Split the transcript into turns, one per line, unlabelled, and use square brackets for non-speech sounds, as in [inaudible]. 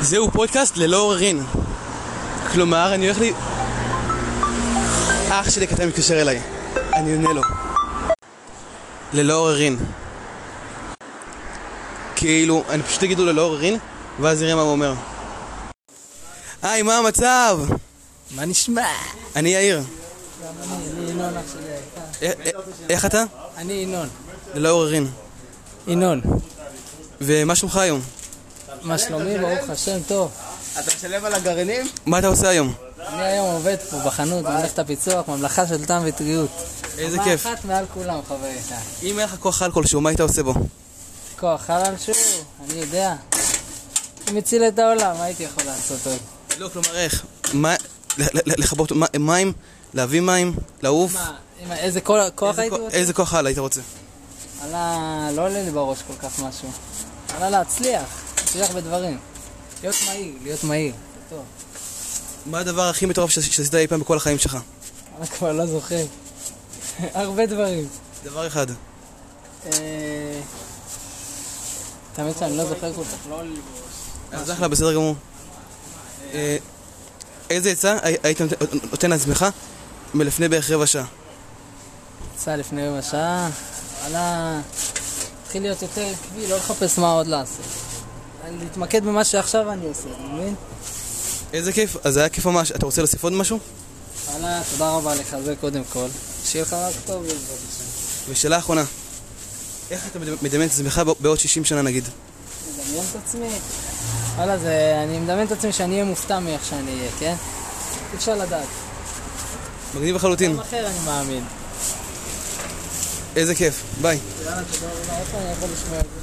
זהו פודקאסט ללא עוררין. כלומר, אני הולך ל... אח שלי הקטן מתקשר אליי. אני עונה לו. ללא עוררין. כאילו, אני פשוט אגיד לו ללא עוררין, ואז נראה מה הוא אומר. היי, מה המצב?
מה נשמע?
אני יאיר.
אני ינון אח שלי היקר.
א- א- איך אתה?
אני ינון.
ללא עוררין.
ינון,
ומה שלומך היום?
מה שלומי? ברוך השם, טוב.
אתה משלם על הגרעינים?
מה אתה עושה היום?
אני היום עובד פה בחנות, במלאכת הפיצוח, ממלכה של טעם וטריות.
איזה
רמה
כיף.
אחת מעל כולם, חברים.
אם היה לך כוח על כלשהו, מה היית עושה בו?
כוח על שהוא, אני יודע. הוא מציל את העולם, מה הייתי יכול לעשות עוד?
לא, כלומר איך? מה... ל- ל- ל- לכבות מ- מים? להביא מים? לעוף?
מה, עם איזה כל- כוח
איזה
הייתי
כוח-
רוצה?
איזה כוח על היית רוצה?
עלה, לא עולה לי בראש כל כך משהו. עלה להצליח, להצליח בדברים. להיות מהיר, להיות מהיר. זה טוב.
מה הדבר הכי מטורף ש- שעשית אי פעם בכל החיים שלך?
אני כבר לא זוכר. [laughs] הרבה דברים.
דבר אחד.
אה, האמת שאני לא זוכר כל כך.
אז אחלה, בסדר גמור. אה, איזה עצה הי- היית נות- נותן לעצמך מלפני בערך רבע שעה?
יצא לפני רבע שעה, עלה... התחיל להיות יותר עקבי, לא לחפש מה עוד לעשות. להתמקד במה שעכשיו אני עושה, אתה מבין?
איזה כיף, אז זה היה כיף ממש. אתה רוצה להוסיף עוד משהו?
עלה, תודה רבה לך, זה קודם כל. שיהיה לך רק טוב בבקשה.
ושאלה אחרונה. איך אתה מד- מדמיין את עצמך ב- בעוד 60 שנה נגיד?
מדמיין את עצמי. וואלה, זה... אני מדמיין את עצמי שאני אהיה מופתע מאיך שאני אהיה, כן? אי אפשר לדעת.
מגניב לחלוטין.
גם אחר אני מאמין.
איזה כיף. ביי.
יאללה, תודה רבה. איפה אני יכול לשמוע את זה?